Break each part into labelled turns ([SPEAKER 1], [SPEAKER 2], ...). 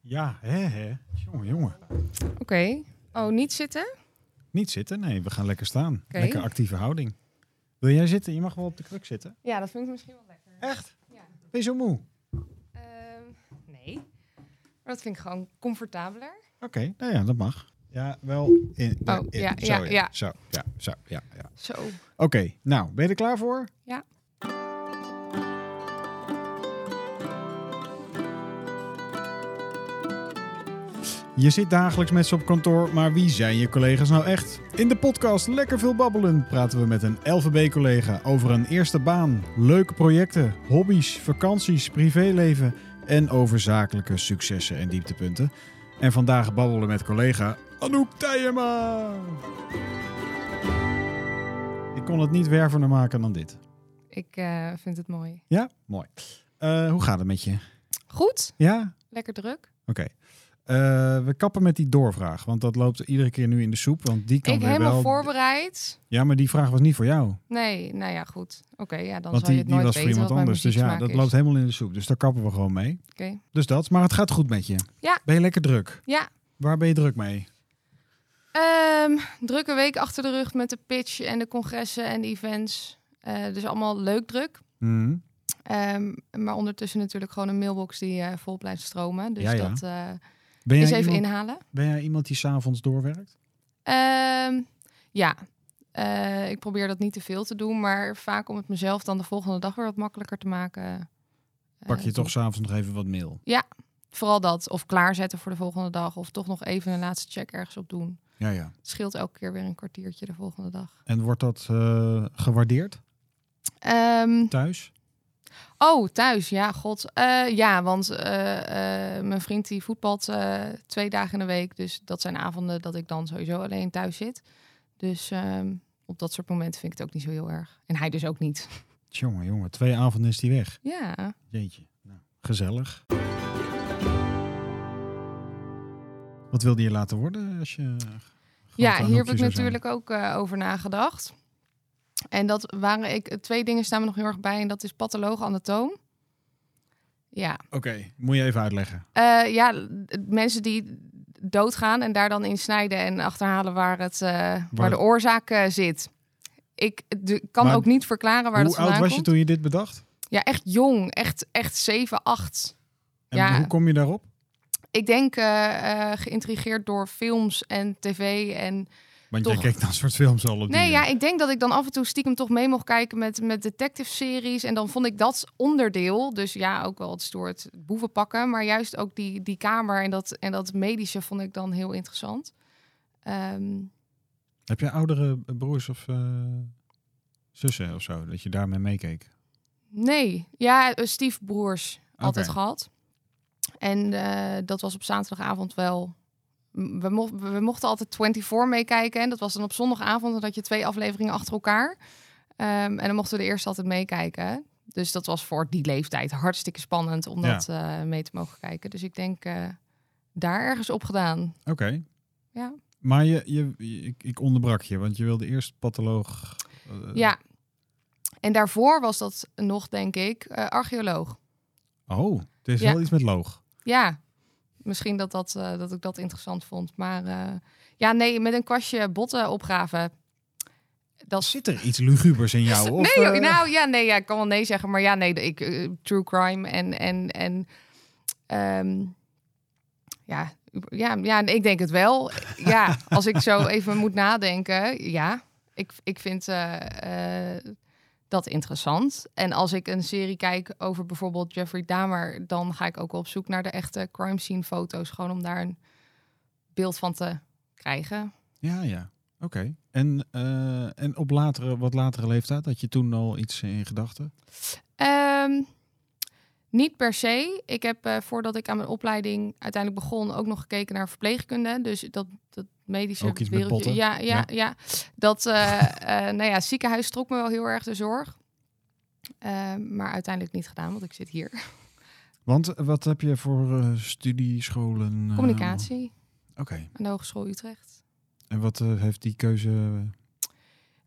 [SPEAKER 1] Ja, hè, hè. Jongen, jongen.
[SPEAKER 2] Oké. Oh, niet zitten?
[SPEAKER 1] Niet zitten, nee. We gaan lekker staan.
[SPEAKER 2] Oké.
[SPEAKER 1] Lekker actieve houding. Wil jij zitten? Je mag wel op de kruk zitten.
[SPEAKER 2] Ja, dat vind ik misschien wel lekker.
[SPEAKER 1] Echt?
[SPEAKER 2] Ja.
[SPEAKER 1] Ben je zo moe? Oké,
[SPEAKER 2] Ehm, nee. Maar dat vind ik gewoon comfortabeler.
[SPEAKER 1] nou ja, dat mag. Ja, wel. In,
[SPEAKER 2] Oh,
[SPEAKER 1] in-
[SPEAKER 2] ja,
[SPEAKER 1] zo,
[SPEAKER 2] ja, ja.
[SPEAKER 1] Zo, ja, zo, ja, ja.
[SPEAKER 2] Zo.
[SPEAKER 1] Oké, nou, ben je er klaar voor?
[SPEAKER 2] Ja.
[SPEAKER 1] Je zit dagelijks met ze op kantoor, maar wie zijn je collega's nou echt? In de podcast Lekker Veel Babbelen praten we met een LVB-collega over een eerste baan, leuke projecten, hobby's, vakanties, privéleven en over zakelijke successen en dieptepunten. En vandaag babbelen we met collega Anouk Tijema. Ik kon het niet wervender maken dan dit.
[SPEAKER 2] Ik eh, vind het mooi.
[SPEAKER 1] Ja? Mooi. Eh, hoe gaat het met je?
[SPEAKER 2] Goed.
[SPEAKER 1] Ja?
[SPEAKER 2] Lekker druk.
[SPEAKER 1] Oké. Eh, we kappen met die doorvraag, want dat loopt iedere keer nu in de soep. Want die kan
[SPEAKER 2] ik
[SPEAKER 1] weer
[SPEAKER 2] helemaal
[SPEAKER 1] wel...
[SPEAKER 2] voorbereid.
[SPEAKER 1] Ja, maar die vraag was niet voor jou.
[SPEAKER 2] Nee, nou ja, goed. Oké, ja, dan
[SPEAKER 1] want
[SPEAKER 2] zal je
[SPEAKER 1] die,
[SPEAKER 2] het
[SPEAKER 1] die
[SPEAKER 2] nooit
[SPEAKER 1] was voor
[SPEAKER 2] weten
[SPEAKER 1] iemand
[SPEAKER 2] wat mijn
[SPEAKER 1] anders. Dus ja,
[SPEAKER 2] muzieksmaak
[SPEAKER 1] dat
[SPEAKER 2] is.
[SPEAKER 1] loopt helemaal in de soep. Dus daar kappen we gewoon mee.
[SPEAKER 2] Oké.
[SPEAKER 1] Dus dat. Maar het gaat goed met je.
[SPEAKER 2] Ja.
[SPEAKER 1] Ben je lekker druk?
[SPEAKER 2] Ja.
[SPEAKER 1] Waar ben je druk mee?
[SPEAKER 2] Ehm, drukke week achter de rug met de pitch en de congressen en de events. Eh, dus allemaal leuk druk.
[SPEAKER 1] Mhm.
[SPEAKER 2] Ehm, maar ondertussen natuurlijk gewoon een mailbox die eh, vol blijft stromen. Dus
[SPEAKER 1] Ja, ja.
[SPEAKER 2] dat eh,
[SPEAKER 1] Ben, jij
[SPEAKER 2] is even
[SPEAKER 1] iemand,
[SPEAKER 2] inhalen.
[SPEAKER 1] ben jij iemand die s'avonds doorwerkt?
[SPEAKER 2] Ehm, ja, Eh, ik probeer dat niet te veel te doen. Maar vaak om het mezelf dan de volgende dag weer wat makkelijker te maken. eh,
[SPEAKER 1] Pak je
[SPEAKER 2] doe-
[SPEAKER 1] toch s'avonds nog even wat mail?
[SPEAKER 2] Vooral dat. Of klaarzetten voor de volgende dag. Of toch nog even een laatste check ergens op doen.
[SPEAKER 1] Ja, ja.
[SPEAKER 2] Het scheelt elke keer weer een kwartiertje de volgende dag.
[SPEAKER 1] En wordt dat eh, gewaardeerd
[SPEAKER 2] Ehm,
[SPEAKER 1] thuis?
[SPEAKER 2] Oh, thuis. Ja, god. Eh, ja, want eh, eh, mijn vriend die voetbalt eh, twee dagen in de week. Dus dat zijn avonden dat ik dan sowieso alleen thuis zit. Dus ehm, op dat soort momenten vind ik het ook niet zo heel erg. En hij dus ook niet.
[SPEAKER 1] Jongen, jongen. Twee avonden is die weg.
[SPEAKER 2] Ja.
[SPEAKER 1] Jeetje. Nou, gezellig. Wat wilde je laten worden als je...
[SPEAKER 2] Ja,
[SPEAKER 1] grote
[SPEAKER 2] hier heb
[SPEAKER 1] Anoukje
[SPEAKER 2] ik
[SPEAKER 1] zou zijn?
[SPEAKER 2] natuurlijk ook eh, over nagedacht. En dat waren ik, eh, twee dingen staan me nog heel erg bij. En dat is patholoog anatoom. Ja,
[SPEAKER 1] Oké, moet je even uitleggen.
[SPEAKER 2] Eh, ja, l- mensen die doodgaan en daar dan in snijden en achterhalen waar, het, eh, waar de oorzaak eh, zit. Ik de- kan
[SPEAKER 1] Maar
[SPEAKER 2] ook niet verklaren waar
[SPEAKER 1] Hoe
[SPEAKER 2] dat
[SPEAKER 1] oud
[SPEAKER 2] vandaan
[SPEAKER 1] was je
[SPEAKER 2] komt.
[SPEAKER 1] toen je dit bedacht?
[SPEAKER 2] Ja, echt jong. Echt, echt 7, 8.
[SPEAKER 1] En
[SPEAKER 2] Ja.
[SPEAKER 1] hoe kom je daarop?
[SPEAKER 2] Ik denk eh, eh, geïntrigeerd door films en tv. En...
[SPEAKER 1] Want
[SPEAKER 2] Toch.
[SPEAKER 1] jij keek dat soort films al op die eh,
[SPEAKER 2] Nee,
[SPEAKER 1] uur.
[SPEAKER 2] ja, ik denk dat ik dan af en toe stiekem toch mee mocht kijken met, met detective-series. En dan vond ik dat onderdeel. Dus ja, ook wel het stoer het boeven pakken. Maar juist ook die, die kamer en dat, en dat medische vond ik dan heel interessant. Ehm,
[SPEAKER 1] Heb je oudere broers of eh, zussen of zo? Dat je daarmee meekeek?
[SPEAKER 2] Nee, ja, eh, stiefbroers altijd
[SPEAKER 1] Oké.
[SPEAKER 2] gehad. En eh, dat was op zaterdagavond wel. m- We, mo- we mochten altijd 24 meekijken. En dat was dan op zondagavond. Dan had je twee afleveringen achter elkaar. Ehm, en dan mochten we de eerste altijd meekijken. Dus dat was voor die leeftijd hartstikke spannend om
[SPEAKER 1] Ja.
[SPEAKER 2] dat eh, mee te mogen kijken. Dus ik denk eh, daar ergens op gedaan.
[SPEAKER 1] Oké.
[SPEAKER 2] Ja.
[SPEAKER 1] Maar je, je, je- ik, ik onderbrak je, want je wilde eerst patholoog... eh,
[SPEAKER 2] Ja. En daarvoor was dat nog, denk ik, eh, archeoloog.
[SPEAKER 1] Oh, het is
[SPEAKER 2] Ja.
[SPEAKER 1] wel iets met loog.
[SPEAKER 2] Ja, misschien dat, dat, eh, dat ik dat interessant vond. Maar eh, ja, nee, met een kwastje botten opgraven. Dat is...
[SPEAKER 1] Zit er iets lugubers in jou? Of,
[SPEAKER 2] nee,
[SPEAKER 1] eh,
[SPEAKER 2] nou ja, nee, ja, ik kan wel nee zeggen. Maar ja, nee, ik, eh, true crime en... en, en ehm, ja, ja, ja, nee, ik denk het wel. Ja, als ik zo even moet nadenken. Ja, ik, ik vind eh, eh, dat interessant. En als ik een serie kijk over bijvoorbeeld Jeffrey Dahmer... dan ga ik ook wel op zoek naar de echte crime scene foto's. Gewoon om daar een beeld van te krijgen.
[SPEAKER 1] Ja, ja. Oké. En, eh, en op latere, wat latere leeftijd, had je toen al iets in gedachten?
[SPEAKER 2] Ehm, niet per se. Ik heb eh, voordat ik aan mijn opleiding uiteindelijk begon ook nog gekeken naar verpleegkunde. Dus dat, dat medische
[SPEAKER 1] Ook iets met
[SPEAKER 2] wereldje.
[SPEAKER 1] botten?
[SPEAKER 2] Ja, ja,
[SPEAKER 1] Ja.
[SPEAKER 2] ja, Dat, eh, eh, nou ja, ziekenhuis trok me wel heel erg de zorg. Ehm, maar uiteindelijk niet gedaan, want ik zit
[SPEAKER 1] Ah.
[SPEAKER 2] hier.
[SPEAKER 1] Want eh, wat heb je voor eh, studiescholen? eh,
[SPEAKER 2] Communicatie
[SPEAKER 1] Oké.
[SPEAKER 2] aan de Hogeschool Utrecht.
[SPEAKER 1] En wat eh, heeft die keuze...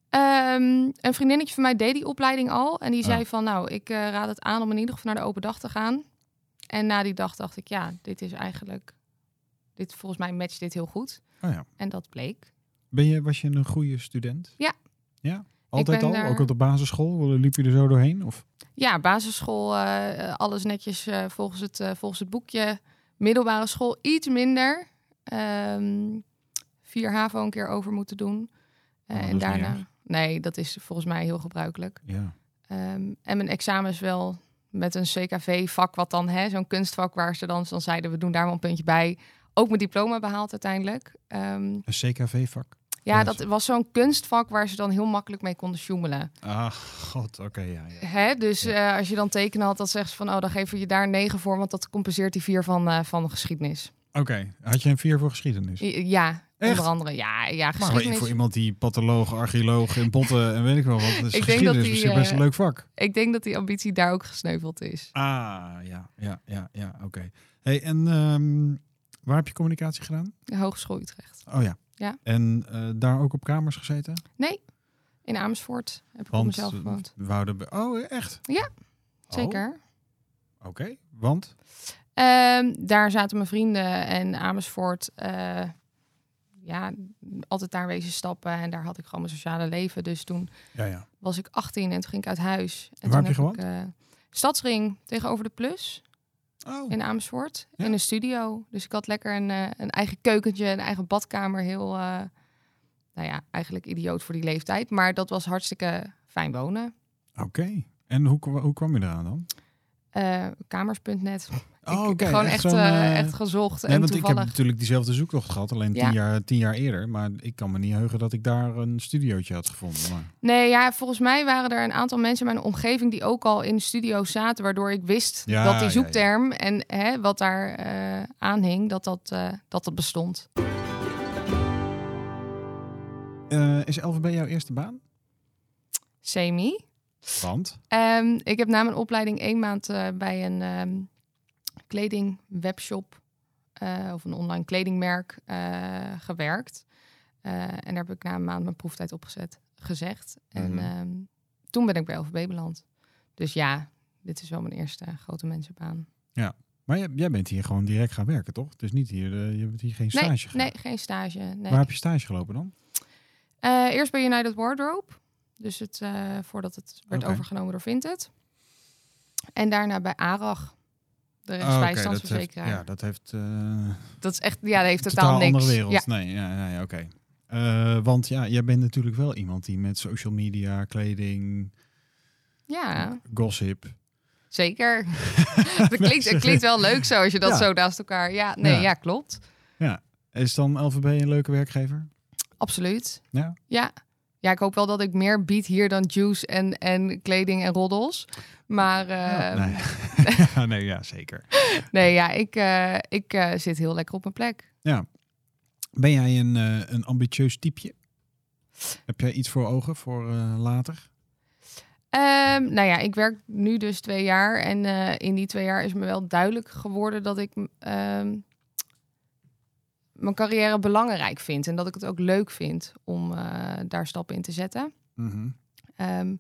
[SPEAKER 2] Ehm, een vriendinnetje van mij deed die opleiding al. En die
[SPEAKER 1] Oh.
[SPEAKER 2] zei van, nou, ik eh, raad het aan om in ieder geval naar de open dag te gaan. En na die dag dacht ik, ja, dit is eigenlijk... Dit, volgens mij matcht dit heel goed.
[SPEAKER 1] Oh ja.
[SPEAKER 2] En dat bleek.
[SPEAKER 1] Ben je, was je een goede student?
[SPEAKER 2] Ja.
[SPEAKER 1] Ja? Altijd
[SPEAKER 2] ben
[SPEAKER 1] al?
[SPEAKER 2] daar-
[SPEAKER 1] Ook op de basisschool? Liep je er zo doorheen? Of?
[SPEAKER 2] Ja, basisschool, eh, eh, alles netjes eh, volgens, het, eh, volgens het boekje. Middelbare school iets minder. Ehm, vier HAVO een keer over moeten doen.
[SPEAKER 1] Oh,
[SPEAKER 2] Eh,
[SPEAKER 1] dat
[SPEAKER 2] en
[SPEAKER 1] is niet
[SPEAKER 2] daarna...
[SPEAKER 1] erg.
[SPEAKER 2] Nee, dat is volgens mij heel gebruikelijk.
[SPEAKER 1] Ja.
[SPEAKER 2] Ehm, en mijn examen is wel met een CKV-vak, wat dan, hè, zo'n kunstvak waar ze dan, dan zeiden, we doen daar wel een puntje bij. Ook mijn diploma behaald uiteindelijk. Ehm,
[SPEAKER 1] Een CKV-vak?
[SPEAKER 2] ja,
[SPEAKER 1] Yes.
[SPEAKER 2] dat was zo'n kunstvak waar ze dan heel makkelijk mee konden sjoemelen.
[SPEAKER 1] Ah, god. Oké, ja, ja.
[SPEAKER 2] Hè? Dus eh, als je dan tekenen had, dan zeggen ze van, oh, dan geven we je daar negen voor, want dat compenseert die vier van, eh, van geschiedenis.
[SPEAKER 1] Oké, had je een vier voor geschiedenis?
[SPEAKER 2] I- ja,
[SPEAKER 1] Echt?
[SPEAKER 2] onder andere. Ja, ja
[SPEAKER 1] Maar
[SPEAKER 2] geschiedenis.
[SPEAKER 1] voor iemand die patholoog, archeoloog en botten en weet ik wel wat, is
[SPEAKER 2] dat
[SPEAKER 1] geschiedenis
[SPEAKER 2] die,
[SPEAKER 1] misschien best een
[SPEAKER 2] eh,
[SPEAKER 1] leuk vak.
[SPEAKER 2] Ik denk dat die ambitie daar ook gesneuveld is.
[SPEAKER 1] Ah, ja, ja, ja, ja, oké. Hey, en ehm, waar heb je communicatie gedaan?
[SPEAKER 2] Hogeschool Utrecht.
[SPEAKER 1] Oh ja.
[SPEAKER 2] Ja.
[SPEAKER 1] En eh, daar ook op kamers gezeten?
[SPEAKER 2] In Amersfoort heb ik op
[SPEAKER 1] Want,
[SPEAKER 2] mezelf
[SPEAKER 1] eh,
[SPEAKER 2] gewoond.
[SPEAKER 1] Woudenbe- oh, echt?
[SPEAKER 2] Ja,
[SPEAKER 1] Oh,
[SPEAKER 2] Zeker.
[SPEAKER 1] Oké, want?
[SPEAKER 2] Ehm, daar zaten mijn vrienden en Amersfoort. eh, ja, altijd daar wezen stappen. En daar had ik gewoon mijn sociale leven. Dus toen
[SPEAKER 1] Ja, ja.
[SPEAKER 2] was ik 18 en toen ging ik uit huis. En
[SPEAKER 1] Waar
[SPEAKER 2] toen
[SPEAKER 1] heb je
[SPEAKER 2] ik, eh, Stadsring tegenover de Plus
[SPEAKER 1] Oh,
[SPEAKER 2] in Amersfoort.
[SPEAKER 1] Ja.
[SPEAKER 2] In een studio. Dus ik had lekker een, eh, een eigen keukentje, een eigen badkamer. Heel, eh, nou ja, eigenlijk idioot voor die leeftijd. Maar dat was hartstikke fijn wonen.
[SPEAKER 1] Oh, oké. En hoe, kwa- hoe kwam je eraan dan?
[SPEAKER 2] Eh, kamers.net.
[SPEAKER 1] Oh,
[SPEAKER 2] ik,
[SPEAKER 1] oké,
[SPEAKER 2] Gewoon
[SPEAKER 1] echt
[SPEAKER 2] echt,
[SPEAKER 1] zo'n,
[SPEAKER 2] eh,
[SPEAKER 1] eh,
[SPEAKER 2] echt gezocht.
[SPEAKER 1] Nee,
[SPEAKER 2] en
[SPEAKER 1] want ik
[SPEAKER 2] toevallig.
[SPEAKER 1] heb natuurlijk diezelfde zoektocht gehad, alleen
[SPEAKER 2] Ja.
[SPEAKER 1] tien, jaar, tien jaar eerder. Maar ik kan me niet heugen dat ik daar een studiootje had gevonden. Maar...
[SPEAKER 2] Nee, ja, volgens mij waren er een aantal mensen in mijn omgeving die ook al in de studio zaten, waardoor ik wist
[SPEAKER 1] Ja,
[SPEAKER 2] dat
[SPEAKER 1] ja,
[SPEAKER 2] die
[SPEAKER 1] ja.
[SPEAKER 2] zoekterm en hè, wat daar eh aan hing, dat dat, eh, dat dat bestond.
[SPEAKER 1] Eh, is LVB jouw eerste baan?
[SPEAKER 2] Semi.
[SPEAKER 1] Want?
[SPEAKER 2] Ehm, ik heb na mijn opleiding één maand eh, bij een ehm, kledingwebshop eh, of een online kledingmerk eh, gewerkt. Eh, en daar heb ik na een maand mijn proeftijd opgezet, gezegd. En
[SPEAKER 1] Mhm.
[SPEAKER 2] ehm, toen ben ik bij LVB beland. Dus ja, dit is wel mijn eerste eh, grote mensenbaan.
[SPEAKER 1] Maar jij, jij bent hier gewoon direct gaan werken, toch? Dus niet hier, eh, je hebt hier geen stage
[SPEAKER 2] nee,
[SPEAKER 1] gedaan.
[SPEAKER 2] nee, geen stage. Nee.
[SPEAKER 1] Waar heb je stage gelopen dan?
[SPEAKER 2] Eh, eerst bij United Wardrobe. Dus het, eh, voordat het werd
[SPEAKER 1] Oké.
[SPEAKER 2] overgenomen door Vinted. En daarna bij ARAG. De
[SPEAKER 1] Oh, oké,
[SPEAKER 2] rechtsbijstandsverzekeraar.
[SPEAKER 1] dat heeft- Ja, dat heeft... eh,
[SPEAKER 2] Dat is echt, ja, dat heeft totaal,
[SPEAKER 1] totaal
[SPEAKER 2] niks.
[SPEAKER 1] andere wereld.
[SPEAKER 2] Ja,
[SPEAKER 1] Nee, ja, nee, oké. Eh, want ja, jij bent natuurlijk wel iemand die met social media, kleding,
[SPEAKER 2] ja,
[SPEAKER 1] gossip.
[SPEAKER 2] zeker. dat klinkt, het klinkt wel leuk zo als je dat
[SPEAKER 1] Ja.
[SPEAKER 2] zo naast elkaar. Ja, nee,
[SPEAKER 1] Ja.
[SPEAKER 2] ja, klopt.
[SPEAKER 1] Is dan LVB een leuke werkgever?
[SPEAKER 2] Absoluut.
[SPEAKER 1] Ja?
[SPEAKER 2] ja. Ja, ik hoop wel dat ik meer bied hier dan juice en, en kleding en roddels. Maar eh,
[SPEAKER 1] nee. Ja, nee, ja, zeker.
[SPEAKER 2] nee, ja, ik, eh, ik eh, zit heel lekker op mijn plek.
[SPEAKER 1] Ben jij een, eh, een ambitieus typeje? Heb jij iets voor ogen voor eh, later?
[SPEAKER 2] Ehm, nou ja, ik werk nu dus twee jaar. En eh, in die twee jaar is me wel duidelijk geworden dat ik m, ehm, mijn carrière belangrijk vind. En dat ik het ook leuk vind om eh, daar stappen in te zetten.
[SPEAKER 1] Mhm.
[SPEAKER 2] Ehm,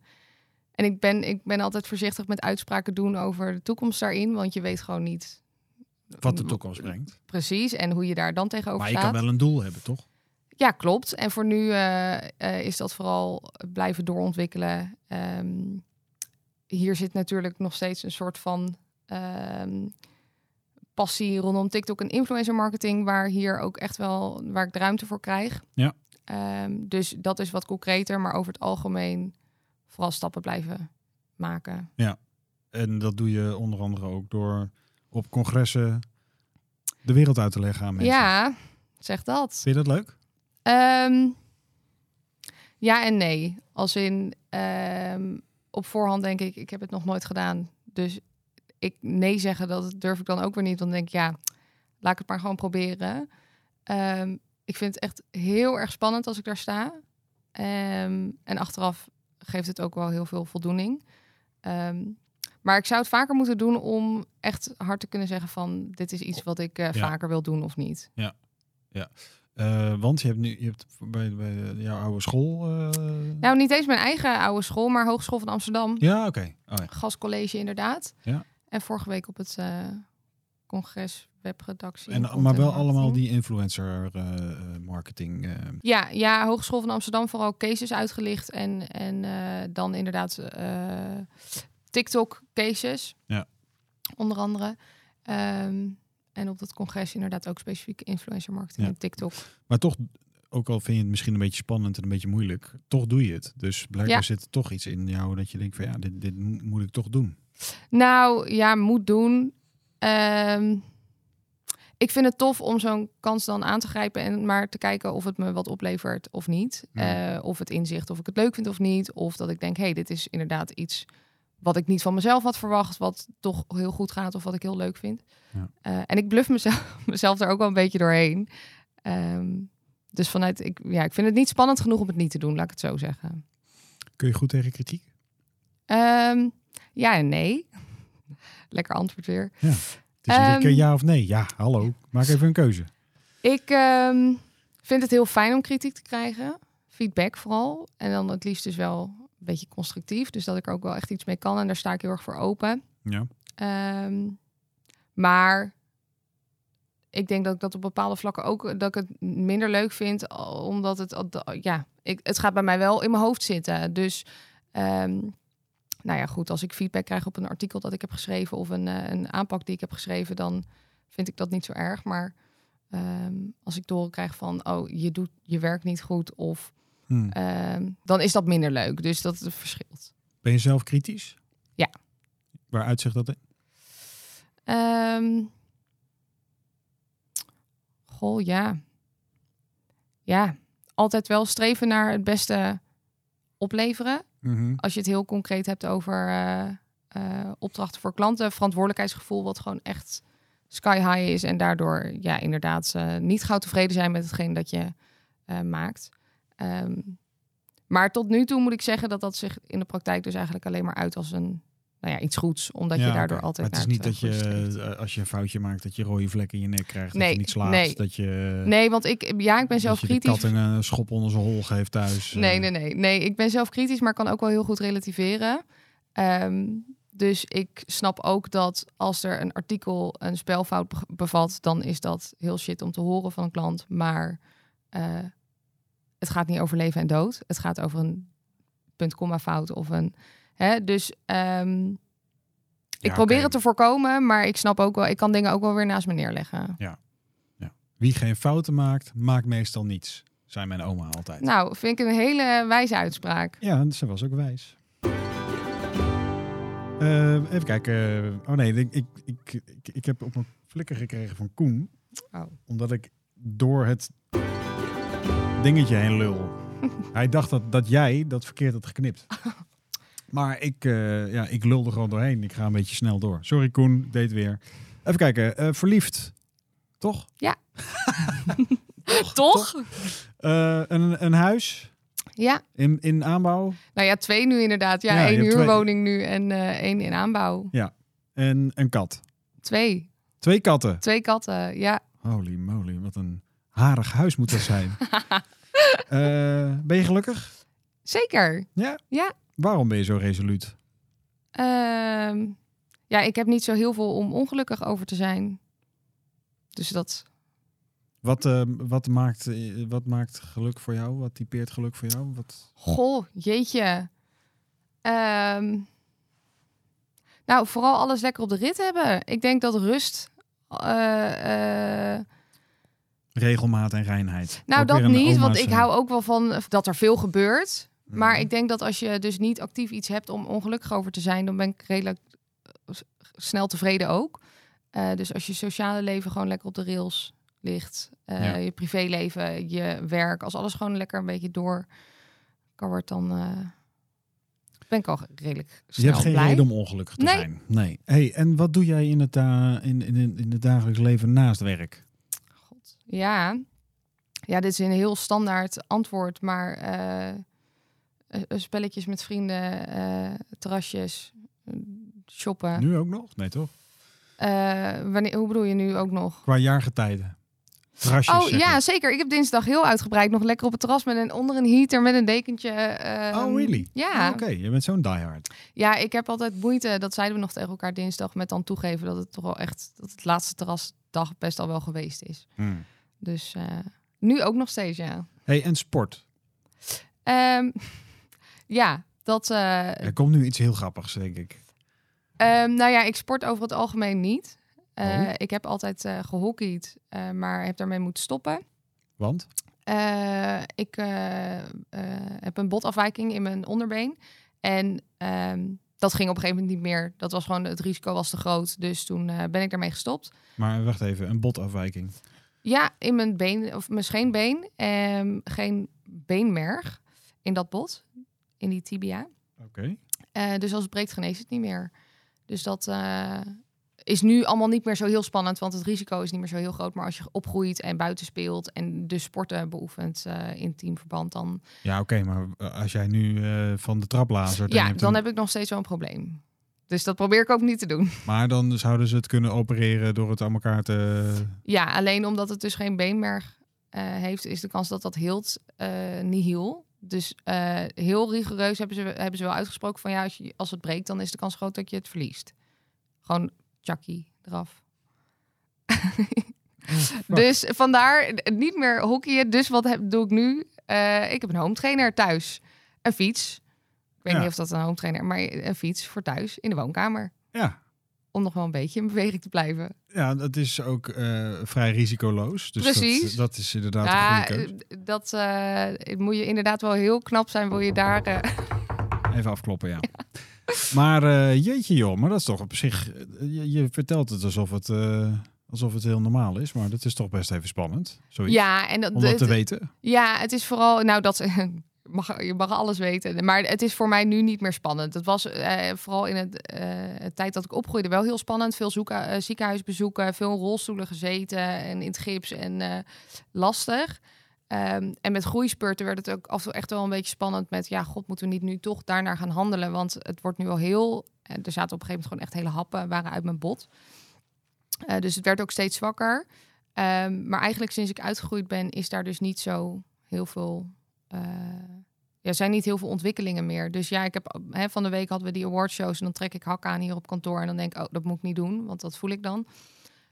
[SPEAKER 2] en ik ben, ik ben altijd voorzichtig met uitspraken doen over de toekomst daarin. Want je weet gewoon niet
[SPEAKER 1] Wat
[SPEAKER 2] Mm,
[SPEAKER 1] de toekomst brengt.
[SPEAKER 2] precies en hoe je daar dan tegenover
[SPEAKER 1] Maar je
[SPEAKER 2] staat.
[SPEAKER 1] kan wel een doel hebben, toch?
[SPEAKER 2] Ja, klopt. En voor nu eh, eh, is dat vooral blijven doorontwikkelen. Ehm, hier zit natuurlijk nog steeds een soort van ehm, passie rondom TikTok en influencer marketing, waar hier ook echt wel waar ik de ruimte voor krijg.
[SPEAKER 1] Ja.
[SPEAKER 2] Ehm, dus dat is wat concreter, maar over het algemeen vooral stappen blijven maken.
[SPEAKER 1] En dat doe je onder andere ook door op congressen de wereld uit te leggen aan mensen.
[SPEAKER 2] Ja, zeg dat.
[SPEAKER 1] Vind je dat leuk?
[SPEAKER 2] Ehm, ja en nee. Als in, ehm, op voorhand denk ik, ik heb het nog nooit gedaan. Dus ik nee zeggen, dat durf ik dan ook weer niet. Want dan denk ik, ja, laat ik het maar gewoon proberen. Ehm, ik vind het echt heel erg spannend als ik daar sta. Ehm, en achteraf geeft het ook wel heel veel voldoening. Ehm, maar ik zou het vaker moeten doen om echt hard te kunnen zeggen van... dit is iets wat ik eh,
[SPEAKER 1] Ja.
[SPEAKER 2] vaker wil doen of niet.
[SPEAKER 1] Eh, want je hebt nu je hebt bij, bij eh, jouw oude school. eh,
[SPEAKER 2] Nou, niet eens mijn eigen oude school, maar Hogeschool van Amsterdam.
[SPEAKER 1] Ja, oké. Oh, ja.
[SPEAKER 2] Gastcollege inderdaad.
[SPEAKER 1] Ja.
[SPEAKER 2] En vorige week op het eh, congres, webredactie.
[SPEAKER 1] En, maar
[SPEAKER 2] content
[SPEAKER 1] wel allemaal
[SPEAKER 2] marketing.
[SPEAKER 1] die influencer eh, marketing. eh,
[SPEAKER 2] Ja, ja, Hogeschool van Amsterdam vooral cases uitgelicht. En, en eh, dan inderdaad eh, TikTok cases.
[SPEAKER 1] Ja.
[SPEAKER 2] Onder andere. Ehm, en op dat congres inderdaad ook specifiek influencer marketing
[SPEAKER 1] Ja.
[SPEAKER 2] en TikTok.
[SPEAKER 1] maar toch, ook al vind je het misschien een beetje spannend en een beetje moeilijk, toch doe je het. Dus blijkbaar
[SPEAKER 2] Ja.
[SPEAKER 1] zit er toch iets in jou dat je denkt van ja, dit, dit mo- moet ik toch doen.
[SPEAKER 2] Nou ja, moet doen. Ehm, ik vind het tof om zo'n kans dan aan te grijpen en maar te kijken of het me wat oplevert of niet.
[SPEAKER 1] Ja.
[SPEAKER 2] Eh, of het inzicht of ik het leuk vind of niet. Of dat ik denk, hé, hey, dit is inderdaad iets wat ik niet van mezelf had verwacht, wat toch heel goed gaat of wat ik heel leuk vind.
[SPEAKER 1] Ja.
[SPEAKER 2] Eh, en ik bluff mezelf, mezelf daar ook wel een beetje doorheen. Ehm, dus vanuit, ik, ja, ik vind het niet spannend genoeg om het niet te doen, laat ik het zo zeggen.
[SPEAKER 1] Kun je goed tegen kritiek?
[SPEAKER 2] Ehm, ja en nee. Lekker antwoord weer.
[SPEAKER 1] Het is iedere
[SPEAKER 2] Ehm,
[SPEAKER 1] keer ja of nee. Ja, hallo. Maak even een keuze.
[SPEAKER 2] Ik ehm, vind het heel fijn om kritiek te krijgen. Feedback vooral. En dan het liefst dus wel een beetje constructief. Dus dat ik er ook wel echt iets mee kan. En daar sta ik heel erg voor open.
[SPEAKER 1] Ja.
[SPEAKER 2] Ehm, maar ik denk dat ik dat op bepaalde vlakken ook... dat ik het minder leuk vind. Omdat het... al- Ja, ik, het gaat bij mij wel in mijn hoofd zitten. Dus... ehm, nou ja, goed, als ik feedback krijg op een artikel dat ik heb geschreven of een, eh, een aanpak die ik heb geschreven, dan vind ik dat niet zo erg. Maar Ehm, als ik door krijg van, oh, je doet je werk niet goed, of
[SPEAKER 1] Hm.
[SPEAKER 2] ehm, dan is dat minder leuk. Dus dat het verschilt.
[SPEAKER 1] Ben je zelf kritisch?
[SPEAKER 2] Ja.
[SPEAKER 1] Waar uitzicht dat in?
[SPEAKER 2] Ehm, goh, ja. Ja, altijd wel streven naar het beste opleveren. Als je het heel concreet hebt over eh, eh, opdrachten voor klanten, verantwoordelijkheidsgevoel, wat gewoon echt sky high is. En daardoor ja, inderdaad eh, niet gauw tevreden zijn met hetgeen dat je eh, maakt. Ehm, maar tot nu toe moet ik zeggen dat dat zich in de praktijk dus eigenlijk alleen maar uit als een, nou ja, iets goeds. Omdat je
[SPEAKER 1] Ja,
[SPEAKER 2] daardoor
[SPEAKER 1] oké.
[SPEAKER 2] altijd
[SPEAKER 1] Maar het
[SPEAKER 2] naar
[SPEAKER 1] is niet dat
[SPEAKER 2] het, eh, goede streeft.
[SPEAKER 1] je, eh, als je een foutje maakt, dat je rode vlek in je nek krijgt. dat
[SPEAKER 2] Nee,
[SPEAKER 1] je niet slaapt.
[SPEAKER 2] nee.
[SPEAKER 1] Dat je,
[SPEAKER 2] Nee, want ik, ja, ik ben zelf
[SPEAKER 1] dat Eh, je de
[SPEAKER 2] kritisch.
[SPEAKER 1] kat een eh, schop onder zijn hol geeft thuis. eh.
[SPEAKER 2] Nee, nee, nee, nee. Ik ben zelf kritisch, maar kan ook wel heel goed relativeren. Ehm, dus ik snap ook dat als er een artikel een spelfout be- bevat, dan is dat heel shit om te horen van een klant. Maar eh, het gaat niet over leven en dood. Het gaat over een punt-komma fout of een. Hè? Dus ehm, ik
[SPEAKER 1] Ja,
[SPEAKER 2] probeer
[SPEAKER 1] oké.
[SPEAKER 2] het te voorkomen, maar ik snap ook wel, ik kan dingen ook wel weer naast me neerleggen.
[SPEAKER 1] Wie geen fouten maakt, maakt meestal niets. Zei mijn oma altijd.
[SPEAKER 2] Nou, vind ik een hele wijze uitspraak.
[SPEAKER 1] Ja, ze was ook wijs. Eh, even kijken. Oh nee, ik, ik, ik, ik, ik heb op mijn flikker gekregen van Koen.
[SPEAKER 2] Oh.
[SPEAKER 1] Omdat ik door het dingetje heen lul. Hij dacht dat, dat jij dat verkeerd had geknipt. Maar ik, eh, ja, ik lulde gewoon doorheen. Ik ga een beetje snel door. Sorry Koen, ik deed het weer. Even kijken. eh, verliefd. Toch?
[SPEAKER 2] Toch?
[SPEAKER 1] Eh, een, een huis
[SPEAKER 2] Ja.
[SPEAKER 1] in, in aanbouw.
[SPEAKER 2] Nou ja, twee nu inderdaad. Ja,
[SPEAKER 1] Ja, je
[SPEAKER 2] één
[SPEAKER 1] hebt twee.
[SPEAKER 2] huurwoning nu en eh, één in aanbouw.
[SPEAKER 1] En een kat.
[SPEAKER 2] Twee.
[SPEAKER 1] Twee katten.
[SPEAKER 2] Twee katten, ja.
[SPEAKER 1] Holy moly, wat een harig huis moet dat zijn. Eh, ben je gelukkig?
[SPEAKER 2] Zeker.
[SPEAKER 1] Waarom ben je zo resoluut?
[SPEAKER 2] Ehm, ja, ik heb niet zo heel veel om ongelukkig over te zijn. Dus dat...
[SPEAKER 1] Wat, eh, wat, maakt, eh, wat maakt geluk voor jou? Wat typeert geluk voor jou? Wat...
[SPEAKER 2] Goh, jeetje. Ehm, nou, vooral alles lekker op de rit hebben. Ik denk dat rust... eh, eh,
[SPEAKER 1] Regelmaat en reinheid.
[SPEAKER 2] nou,
[SPEAKER 1] Ook
[SPEAKER 2] dat
[SPEAKER 1] weer een
[SPEAKER 2] niet,
[SPEAKER 1] oma's,
[SPEAKER 2] want ik
[SPEAKER 1] eh,
[SPEAKER 2] hou ook wel van dat er veel gebeurt.
[SPEAKER 1] mm.
[SPEAKER 2] Maar ik denk dat als je dus niet actief iets hebt om ongelukkig over te zijn, dan ben ik redelijk eh, s- snel tevreden ook. Eh, dus als je sociale leven gewoon lekker op de rails ligt, eh,
[SPEAKER 1] Ja.
[SPEAKER 2] je privéleven, je werk, als alles gewoon lekker een beetje door kan wordt, dan eh, ben ik al redelijk
[SPEAKER 1] Je
[SPEAKER 2] snel
[SPEAKER 1] hebt geen
[SPEAKER 2] blij.
[SPEAKER 1] reden om ongelukkig te
[SPEAKER 2] Nee.
[SPEAKER 1] zijn. Nee. Hey, en wat doe jij in het, da- in, in, in het dagelijks leven naast werk?
[SPEAKER 2] God. Ja. ja, dit is een heel standaard antwoord, maar eh, eh, spelletjes met vrienden, eh, terrasjes, eh, shoppen.
[SPEAKER 1] Nu ook nog? Nee, toch?
[SPEAKER 2] Eh, wanneer, hoe bedoel je nu ook nog?
[SPEAKER 1] Qua jaargetijden. Rasjes,
[SPEAKER 2] Oh ja, zeker. Ik heb dinsdag heel uitgebreid nog lekker op het terras met een, onder een heater met een dekentje. eh,
[SPEAKER 1] Oh, really?
[SPEAKER 2] Ja.
[SPEAKER 1] Oké, je bent zo'n diehard.
[SPEAKER 2] ja, ik heb altijd moeite. Dat zeiden we nog tegen elkaar dinsdag. Met dan toegeven dat het toch wel echt. dat het laatste terrasdag best al wel geweest is.
[SPEAKER 1] Hmm.
[SPEAKER 2] Dus eh, nu ook nog steeds, ja.
[SPEAKER 1] Hey, en sport.
[SPEAKER 2] Ehm, ja, dat. eh,
[SPEAKER 1] Er komt nu iets heel grappigs, denk ik.
[SPEAKER 2] ehm, nou ja, ik sport over het algemeen niet. Eh,
[SPEAKER 1] Oh.
[SPEAKER 2] Ik heb altijd eh gehockeyd, eh, maar heb daarmee moeten stoppen.
[SPEAKER 1] Want?
[SPEAKER 2] Eh, ik eh, eh, heb een botafwijking in mijn onderbeen. En ehm, dat ging op een gegeven moment niet meer. Dat was gewoon, het risico was te groot. Dus toen eh, ben ik daarmee gestopt.
[SPEAKER 1] Maar wacht even, een botafwijking.
[SPEAKER 2] Ja, in mijn been, of mijn scheenbeen. Ehm, geen beenmerg in dat bot, in die tibia.
[SPEAKER 1] Oké.
[SPEAKER 2] Eh, dus als het breekt, geneest het niet meer. Dus dat eh, is nu allemaal niet meer zo heel spannend, want het risico is niet meer zo heel groot. Maar als je opgroeit en buiten speelt en de sporten beoefent eh, in teamverband, dan
[SPEAKER 1] Ja, oké, maar eh, als jij nu eh, van de trap lazert...
[SPEAKER 2] Ja, dan heb ik nog steeds wel een probleem. Dus dat probeer ik ook niet te doen.
[SPEAKER 1] Maar dan zouden ze het kunnen opereren door het aan elkaar te...
[SPEAKER 2] Ja, alleen omdat het dus geen beenmerg eh, heeft, is de kans dat dat hield eh, niet heel. Dus eh, heel rigoureus hebben ze, hebben ze wel uitgesproken van ja, als, je, als het breekt, dan is de kans groot dat je het verliest. Gewoon chucky eraf. Dus vandaar eh, niet meer hockeyen. Dus wat heb, doe ik nu? Eh, ik heb een home trainer thuis. Een fiets. Ik weet
[SPEAKER 1] Ja.
[SPEAKER 2] niet of dat een home trainer, maar een fiets voor thuis in de woonkamer.
[SPEAKER 1] Ja,
[SPEAKER 2] om nog wel een beetje in beweging te blijven.
[SPEAKER 1] ja dat is ook eh, vrij risicoloos. Dus
[SPEAKER 2] Precies.
[SPEAKER 1] Dat, dat is inderdaad een
[SPEAKER 2] ja,
[SPEAKER 1] goede keuze.
[SPEAKER 2] eh, dat eh, moet je inderdaad wel heel knap zijn, wil je daar. eh,
[SPEAKER 1] Even afkloppen, ja. Maar eh, jeetje joh, maar dat is toch op zich... eh, Je, je vertelt het alsof het, eh, alsof het heel normaal is, maar dat is toch best even spannend. Zoiets,
[SPEAKER 2] ja, en dat,
[SPEAKER 1] om dat te
[SPEAKER 2] het-
[SPEAKER 1] weten.
[SPEAKER 2] ja, het is vooral. Nou, dat mag, je mag alles weten. Maar het is voor mij nu niet meer spannend. Het was eh, vooral in het eh, de tijd dat ik opgroeide wel heel spannend. Veel zoeka- eh, ziekenhuisbezoeken, veel in rolstoelen gezeten en in het gips en eh, lastig. Ehm, en met groeispurten werd het ook af en toe echt wel een beetje spannend met... ja, god, moeten we niet nu toch daarnaar gaan handelen? Want het wordt nu al heel... en Er zaten op een gegeven moment gewoon echt hele happen, waren uit mijn bot. Eh, dus het werd ook steeds zwakker. Ehm, maar eigenlijk sinds ik uitgegroeid ben, is daar dus niet zo heel veel... eh, ja, er zijn niet heel veel ontwikkelingen meer. Dus ja, ik heb, hè, van de week hadden we die awardshows... en dan trek ik hak aan hier op kantoor en dan denk ik... oh, dat moet ik niet doen, want dat voel ik dan.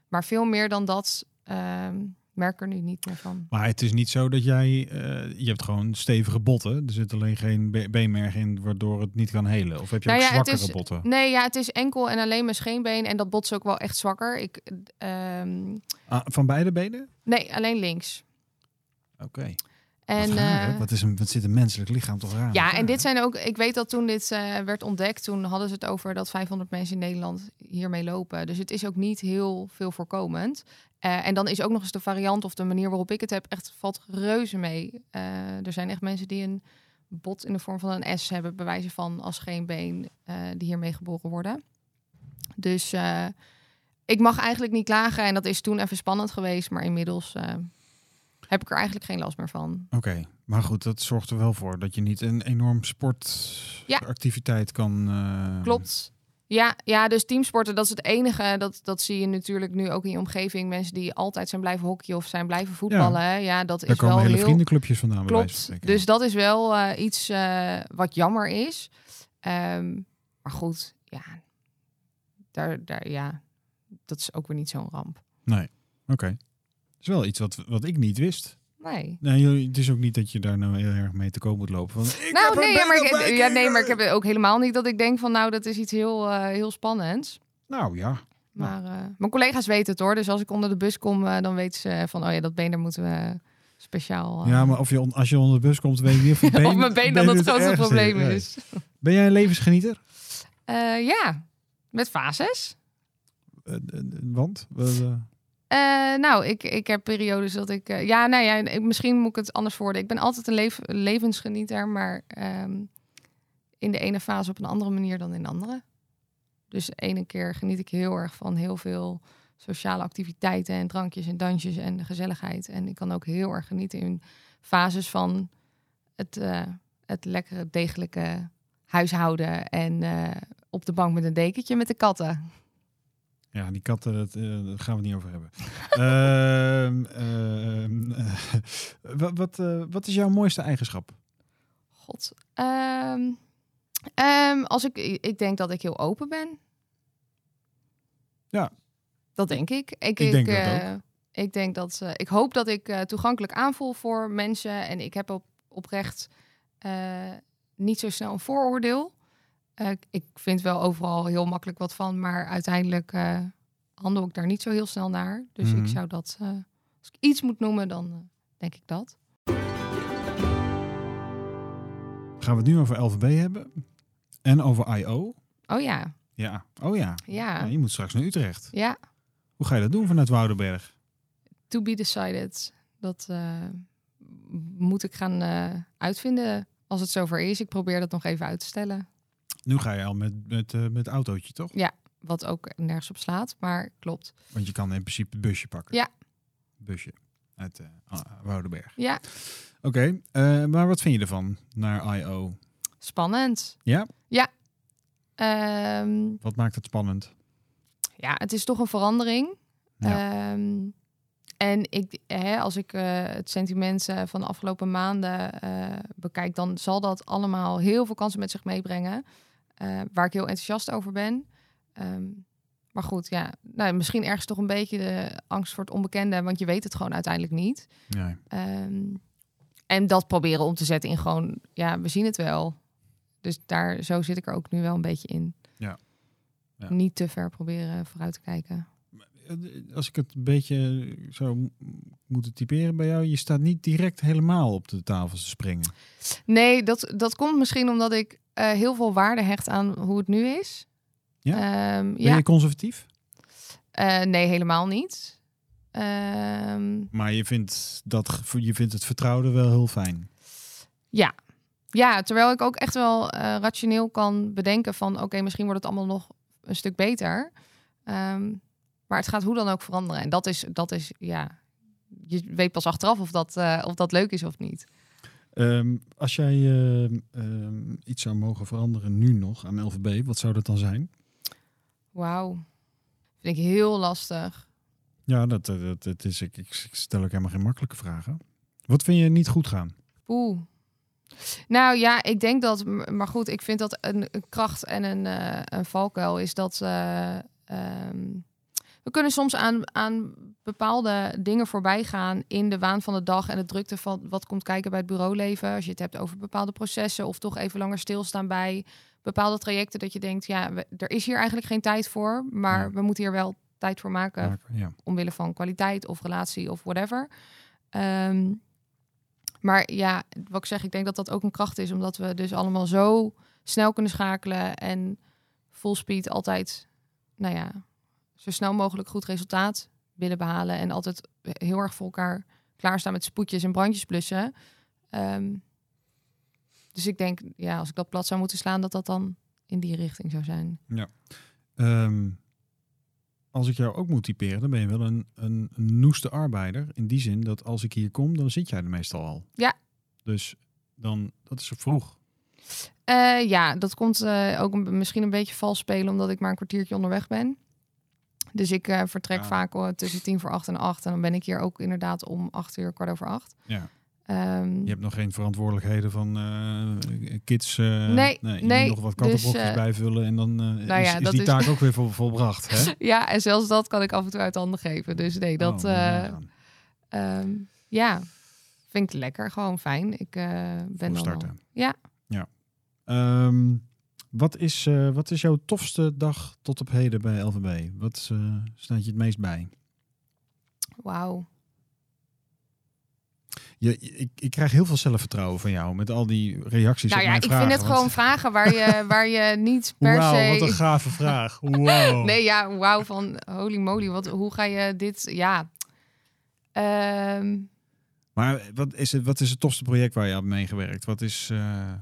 [SPEAKER 2] Maar veel meer dan dat ehm, merk ik er nu niet meer van.
[SPEAKER 1] Maar het is niet zo dat jij... eh, je hebt gewoon stevige botten. Er zit alleen geen be- beenmerg in waardoor het niet kan helen. Of heb je
[SPEAKER 2] Nou
[SPEAKER 1] ook
[SPEAKER 2] ja, het
[SPEAKER 1] zwakkere
[SPEAKER 2] is-
[SPEAKER 1] botten?
[SPEAKER 2] Nee, ja, het is enkel en alleen mijn scheenbeen. En dat bot is ook wel echt zwakker. Ik, ehm,
[SPEAKER 1] Ah, van beide benen?
[SPEAKER 2] nee, alleen links.
[SPEAKER 1] Oké.
[SPEAKER 2] En,
[SPEAKER 1] wat, raar, hè?
[SPEAKER 2] eh,
[SPEAKER 1] wat, is een, wat zit een menselijk lichaam toch raar?
[SPEAKER 2] ja, en dit zijn ook... Ik weet dat toen dit eh, werd ontdekt... toen hadden ze het over dat 500 mensen in Nederland hiermee lopen. Dus het is ook niet heel veel voorkomend. Eh, en dan is ook nog eens de variant of de manier waarop ik het heb... echt valt reuze mee. Eh, er zijn echt mensen die een bot in de vorm van een S hebben... bewijzen van als geen been eh, die hiermee geboren worden. Dus eh, ik mag eigenlijk niet klagen. En dat is toen even spannend geweest. Maar inmiddels eh, heb ik er eigenlijk geen last meer van.
[SPEAKER 1] Oké, maar goed, dat zorgt er wel voor dat je niet een enorm sportactiviteit kan. eh,
[SPEAKER 2] Klopt. Ja, ja, dus teamsporten, dat is het enige. Dat, dat zie je natuurlijk nu ook in je omgeving. Mensen die altijd zijn blijven hockeyen of zijn blijven voetballen. Ja, dat
[SPEAKER 1] Daar
[SPEAKER 2] is
[SPEAKER 1] komen
[SPEAKER 2] wel
[SPEAKER 1] hele
[SPEAKER 2] heel...
[SPEAKER 1] vriendenclubjes vandaan. bij wijze van
[SPEAKER 2] Klopt.
[SPEAKER 1] spreken.
[SPEAKER 2] Dus dat is wel eh, iets eh, wat jammer is. Ehm, maar goed, ja. Daar, daar, ja. Dat is ook weer niet zo'n ramp.
[SPEAKER 1] Nee, oké. is wel iets wat, wat ik niet wist.
[SPEAKER 2] Nee.
[SPEAKER 1] Nee, jullie- het is ook niet dat je daar nou heel erg mee te koop moet lopen. Want ik
[SPEAKER 2] nou,
[SPEAKER 1] heb een
[SPEAKER 2] nee, ja, maar ik,
[SPEAKER 1] benenwijking!
[SPEAKER 2] ja, nee, maar ik heb ook helemaal niet dat ik denk van... nou, dat is iets heel, eh, heel spannends.
[SPEAKER 1] Nou ja,
[SPEAKER 2] Maar eh, mijn collega's weten het hoor. Dus als ik onder de bus kom, eh, dan weten ze van... oh ja, dat been, daar moeten we speciaal... eh,
[SPEAKER 1] ja maar of je on- als je onder de bus komt, weet je niet of, je been, dus
[SPEAKER 2] op mijn been dat het grootste
[SPEAKER 1] ergste
[SPEAKER 2] probleem
[SPEAKER 1] Nee.
[SPEAKER 2] is.
[SPEAKER 1] Ben jij een levensgenieter?
[SPEAKER 2] Eh, ja, met fases.
[SPEAKER 1] Eh, eh, want? Wel, eh,
[SPEAKER 2] Eh, nou, ik, ik heb periodes dat ik... eh, ja, nou ja, ik- misschien moet ik het anders worden. Ik ben altijd een lef- levensgenieter, maar ehm, in de ene fase op een andere manier dan in de andere. Dus de ene keer geniet ik heel erg van heel veel sociale activiteiten en drankjes en dansjes en gezelligheid. En ik kan ook heel erg genieten in fases van het, eh, het lekkere, degelijke huishouden en eh, op de bank met een dekentje met de katten.
[SPEAKER 1] Ja, die katten, dat, eh, daar gaan we het niet over hebben. Ehm, ehm, eh, wat, wat, eh, wat is jouw mooiste eigenschap?
[SPEAKER 2] God. Ehm, ehm, als ik, ik denk dat ik heel open ben.
[SPEAKER 1] Ja.
[SPEAKER 2] Dat denk ik. Ik,
[SPEAKER 1] Ik denk dat
[SPEAKER 2] eh, ik denk dat eh, ik hoop dat ik eh, toegankelijk aanvoel voor mensen. En ik heb op, oprecht eh, niet zo snel een vooroordeel. Eh, ik vind wel overal heel makkelijk wat van, maar uiteindelijk eh, handel ik daar niet zo heel snel naar. Dus
[SPEAKER 1] Mhm.
[SPEAKER 2] ik zou dat, eh, als ik iets moet noemen, dan eh, denk ik dat.
[SPEAKER 1] Gaan we het nu over LVB hebben? En over I.O.?
[SPEAKER 2] Oh ja,
[SPEAKER 1] Ja. Oh ja.
[SPEAKER 2] ja,
[SPEAKER 1] Ja, je moet straks naar Utrecht.
[SPEAKER 2] ja.
[SPEAKER 1] Hoe ga je dat doen vanuit Woudenberg?
[SPEAKER 2] To be decided. Dat eh, moet ik gaan eh, uitvinden als het zover is. Ik probeer dat nog even uit te stellen.
[SPEAKER 1] Nu ga je al met, met, eh, met autootje, toch?
[SPEAKER 2] Wat ook nergens op slaat, maar klopt.
[SPEAKER 1] Want je kan in principe het busje pakken.
[SPEAKER 2] Ja.
[SPEAKER 1] Busje uit eh, Ah, Woudenberg.
[SPEAKER 2] Ja,
[SPEAKER 1] Oké, eh, maar wat vind je ervan naar I.O.?
[SPEAKER 2] spannend.
[SPEAKER 1] Ja?
[SPEAKER 2] Ja. Ehm,
[SPEAKER 1] Wat maakt het spannend?
[SPEAKER 2] ja, het is toch een verandering. Ehm, en ik, hè, als ik eh, het sentiment eh, van de afgelopen maanden eh, bekijk, dan zal dat allemaal heel veel kansen met zich meebrengen. eh, waar ik heel enthousiast over ben. Ehm, maar goed, ja, nou, misschien ergens toch een beetje de angst voor het onbekende, want je weet het gewoon uiteindelijk niet.
[SPEAKER 1] Ja.
[SPEAKER 2] Ehm, en dat proberen om te zetten in gewoon, ja, we zien het wel. Dus daar, zo zit ik er ook nu wel een beetje in.
[SPEAKER 1] Ja. Ja.
[SPEAKER 2] Niet te ver proberen vooruit te kijken.
[SPEAKER 1] Eh, Als ik het een beetje zou m- moeten typeren bij jou, je staat niet direct helemaal op de tafels te springen.
[SPEAKER 2] Nee, dat, dat komt misschien omdat ik eh, heel veel waarde hecht aan hoe het nu is.
[SPEAKER 1] Ja?
[SPEAKER 2] Ehm,
[SPEAKER 1] Ben
[SPEAKER 2] ja.
[SPEAKER 1] je conservatief?
[SPEAKER 2] Eh, nee, helemaal niet. Ehm,
[SPEAKER 1] Maar je vindt, dat, ge- je vindt het vertrouwde wel heel fijn.
[SPEAKER 2] ja, terwijl ik ook echt wel eh, rationeel kan bedenken van... oké, misschien wordt het allemaal nog een stuk beter. Ehm, maar het gaat hoe dan ook veranderen. En dat is, dat is ja... Je weet pas achteraf of dat, eh, of dat leuk is of niet.
[SPEAKER 1] Ehm, als jij ehm, ehm, iets zou mogen veranderen nu nog aan LVB, wat zou dat dan zijn?
[SPEAKER 2] Wauw. Vind ik heel lastig.
[SPEAKER 1] Ja, dat, eh, dat, dat is, ik, ik ik stel ook helemaal geen makkelijke vragen. Wat vind je niet goed gaan?
[SPEAKER 2] Oeh. Nou ja, ik denk dat, maar goed, ik vind dat een, een kracht en een, eh, een valkuil is dat eh, ehm, we kunnen soms aan, aan bepaalde dingen voorbij gaan in de waan van de dag en de drukte van wat komt kijken bij het bureauleven. Als je het hebt over bepaalde processen of toch even langer stilstaan bij bepaalde trajecten, dat je denkt, ja, we- er is hier eigenlijk geen tijd voor, maar
[SPEAKER 1] Ja.
[SPEAKER 2] we moeten hier wel tijd voor maken
[SPEAKER 1] Maken? Ja.
[SPEAKER 2] omwille van kwaliteit of relatie of whatever. Ehm, maar ja, wat ik zeg, ik denk dat dat ook een kracht is, omdat we dus allemaal zo snel kunnen schakelen en full speed altijd, nou ja, zo snel mogelijk goed resultaat willen behalen en altijd heel erg voor elkaar klaarstaan met spoedjes en brandjes blussen. Ehm, dus ik denk, ja, als ik dat plat zou moeten slaan, dat dat dan in die richting zou zijn.
[SPEAKER 1] Ehm, als ik jou ook moet typeren, dan ben je wel een, een noeste arbeider. In die zin dat als ik hier kom, dan zit jij er meestal al.
[SPEAKER 2] Ja.
[SPEAKER 1] Dus dan, dat is vroeg.
[SPEAKER 2] Eh, ja, dat komt eh, ook een- misschien een beetje vals spelen, omdat ik maar een kwartiertje onderweg ben. Dus ik eh, vertrek
[SPEAKER 1] Ah.
[SPEAKER 2] vaak eh, tussen tien voor acht en acht. En dan ben ik hier ook inderdaad om acht uur, kwart over acht.
[SPEAKER 1] Ja.
[SPEAKER 2] Ehm,
[SPEAKER 1] Je hebt nog geen verantwoordelijkheden van eh, kids. eh,
[SPEAKER 2] Nee,
[SPEAKER 1] je
[SPEAKER 2] nee,
[SPEAKER 1] moet nog wat kattenbochtjes
[SPEAKER 2] dus, eh,
[SPEAKER 1] bijvullen en dan eh, is,
[SPEAKER 2] ja,
[SPEAKER 1] is
[SPEAKER 2] dat
[SPEAKER 1] die
[SPEAKER 2] is-
[SPEAKER 1] taak ook weer vol- volbracht. Hè?
[SPEAKER 2] Ja, en zelfs dat kan ik af en toe uit handen geven. Dus nee, dat
[SPEAKER 1] Oh, ja,
[SPEAKER 2] eh, ehm, ja, vind ik lekker. Gewoon fijn. Ik eh, ben
[SPEAKER 1] vroeg
[SPEAKER 2] dan
[SPEAKER 1] starten.
[SPEAKER 2] al- Ja.
[SPEAKER 1] ja. Ehm, wat, is, eh, wat is jouw tofste dag tot op heden bij LVB? Wat eh, staat je het meest bij?
[SPEAKER 2] Wauw.
[SPEAKER 1] Je, ik, ik krijg heel veel zelfvertrouwen van jou met al die reacties
[SPEAKER 2] Nou
[SPEAKER 1] op
[SPEAKER 2] ja,
[SPEAKER 1] mijn
[SPEAKER 2] ik
[SPEAKER 1] vragen,
[SPEAKER 2] vind het
[SPEAKER 1] want-
[SPEAKER 2] gewoon vragen waar je, waar je niet per se...
[SPEAKER 1] Wauw, wat een gave vraag. Wow.
[SPEAKER 2] Nee, ja, wauw, van holy moly, wat, hoe ga je dit... Ja, Ehm,
[SPEAKER 1] Maar wat is, het, wat is het tofste project waar je aan hebt meegewerkt? Wat is eh,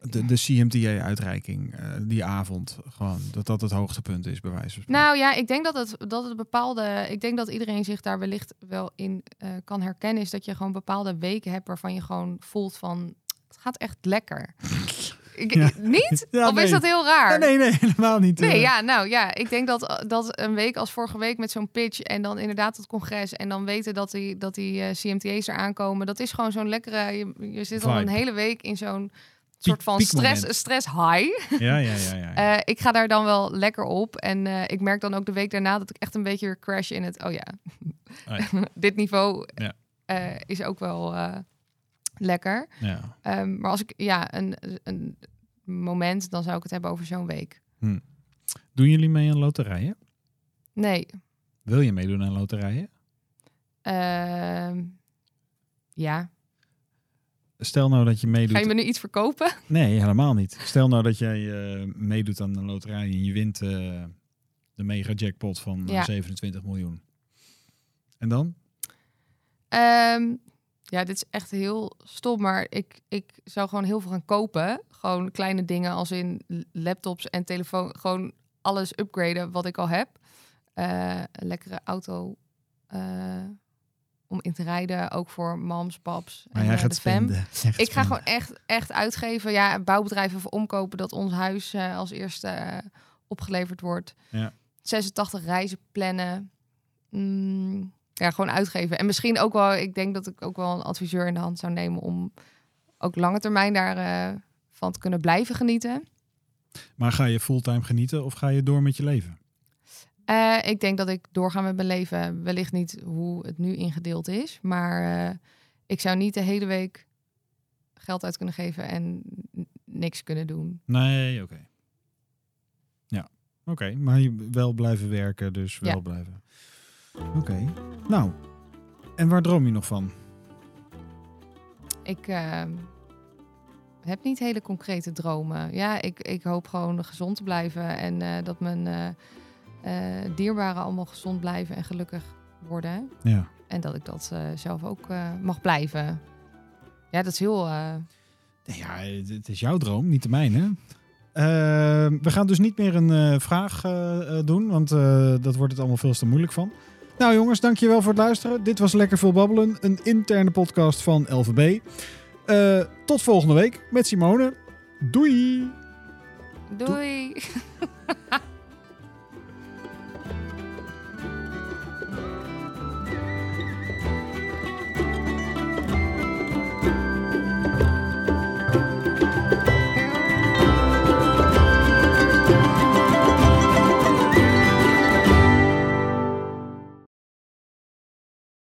[SPEAKER 1] de, de CMTA-uitreiking, eh, die avond? Gewoon, dat dat het hoogtepunt is, bij wijze van spreken.
[SPEAKER 2] Nou ja, ik denk dat het, dat het bepaalde. Ik denk dat iedereen zich daar wellicht wel in eh, kan herkennen. Is dat je gewoon bepaalde weken hebt waarvan je gewoon voelt van. Het gaat echt lekker. Ik-
[SPEAKER 1] Ja.
[SPEAKER 2] Niet?
[SPEAKER 1] Ja,
[SPEAKER 2] of
[SPEAKER 1] nee.
[SPEAKER 2] is dat heel raar?
[SPEAKER 1] Ja, nee, nee, helemaal niet.
[SPEAKER 2] Nee,
[SPEAKER 1] eh.
[SPEAKER 2] ja, nou ja, ik denk dat, dat een week als vorige week met zo'n pitch en dan inderdaad het congres en dan weten dat die, dat die eh, CMTA's er aankomen, dat is gewoon zo'n lekkere. Je, je zit al
[SPEAKER 1] Vibe.
[SPEAKER 2] een hele week in zo'n soort van
[SPEAKER 1] piekmoment.
[SPEAKER 2] stress, stress high.
[SPEAKER 1] Ja, ja, ja. ja, ja.
[SPEAKER 2] Eh, ik ga daar dan wel lekker op en eh, ik merk dan ook de week daarna dat ik echt een beetje weer crash in het. Oh ja,
[SPEAKER 1] Oh
[SPEAKER 2] dit niveau
[SPEAKER 1] Ja.
[SPEAKER 2] eh, is ook wel eh, lekker.
[SPEAKER 1] ja.
[SPEAKER 2] Ehm, maar als ik ja een, een moment, dan zou ik het hebben over zo'n week.
[SPEAKER 1] Doen jullie mee aan loterijen?
[SPEAKER 2] Nee,
[SPEAKER 1] Wil je meedoen aan loterijen?
[SPEAKER 2] Ehm, ja.
[SPEAKER 1] Stel nou dat je meedoet.
[SPEAKER 2] Ga je me nu iets verkopen?
[SPEAKER 1] Nee, helemaal niet. Stel nou dat jij eh, meedoet aan een loterij en je wint eh, de mega jackpot van eh,
[SPEAKER 2] Ja.
[SPEAKER 1] 27 miljoen. En dan?
[SPEAKER 2] Ehm, ja, dit is echt heel stom, maar ik, ik zou gewoon heel veel gaan kopen. Gewoon kleine dingen als in laptops en telefoon. Gewoon alles upgraden wat ik al heb. Eh, een lekkere auto eh, om in te rijden, ook voor mams, paps
[SPEAKER 1] Maar
[SPEAKER 2] en
[SPEAKER 1] jij
[SPEAKER 2] eh,
[SPEAKER 1] gaat
[SPEAKER 2] de fam.
[SPEAKER 1] spenden. Jij gaat
[SPEAKER 2] Ik ga
[SPEAKER 1] spenden.
[SPEAKER 2] gewoon echt, echt uitgeven. Ja, bouwbedrijven voor omkopen dat ons huis eh, als eerste eh, opgeleverd wordt.
[SPEAKER 1] Ja.
[SPEAKER 2] 86 reizen plannen. Mm, ja, gewoon uitgeven. En misschien ook wel, ik denk dat ik ook wel een adviseur in de hand zou nemen om ook lange termijn daarvan van te kunnen blijven genieten.
[SPEAKER 1] Maar ga je fulltime genieten of ga je door met je leven?
[SPEAKER 2] Eh, ik denk dat ik doorga met mijn leven. Wellicht niet hoe het nu ingedeeld is. Maar eh, ik zou niet de hele week geld uit kunnen geven en n- niks kunnen doen.
[SPEAKER 1] Nee, oké. Ja, oké. Maar je wel blijven werken, dus wel
[SPEAKER 2] Ja.
[SPEAKER 1] blijven. Oké. Nou, en waar droom je nog van?
[SPEAKER 2] Ik eh, heb niet hele concrete dromen. Ja, ik, ik hoop gewoon gezond te blijven. En eh, dat mijn eh, eh, dierbaren allemaal gezond blijven en gelukkig worden.
[SPEAKER 1] Ja.
[SPEAKER 2] En dat ik dat eh, zelf ook eh, mag blijven. Ja, dat is heel... eh,
[SPEAKER 1] Nee, Ja, het- het is jouw droom, niet de mijne. Eh, we gaan dus niet meer een eh, vraag eh, eh, doen, want eh, dat wordt het allemaal veel te moeilijk van. Nou jongens, dankjewel voor het luisteren. Dit was Lekker Veel Babbelen, een interne podcast van LVB. Eh, tot volgende week met Simone. Doei!
[SPEAKER 2] doei!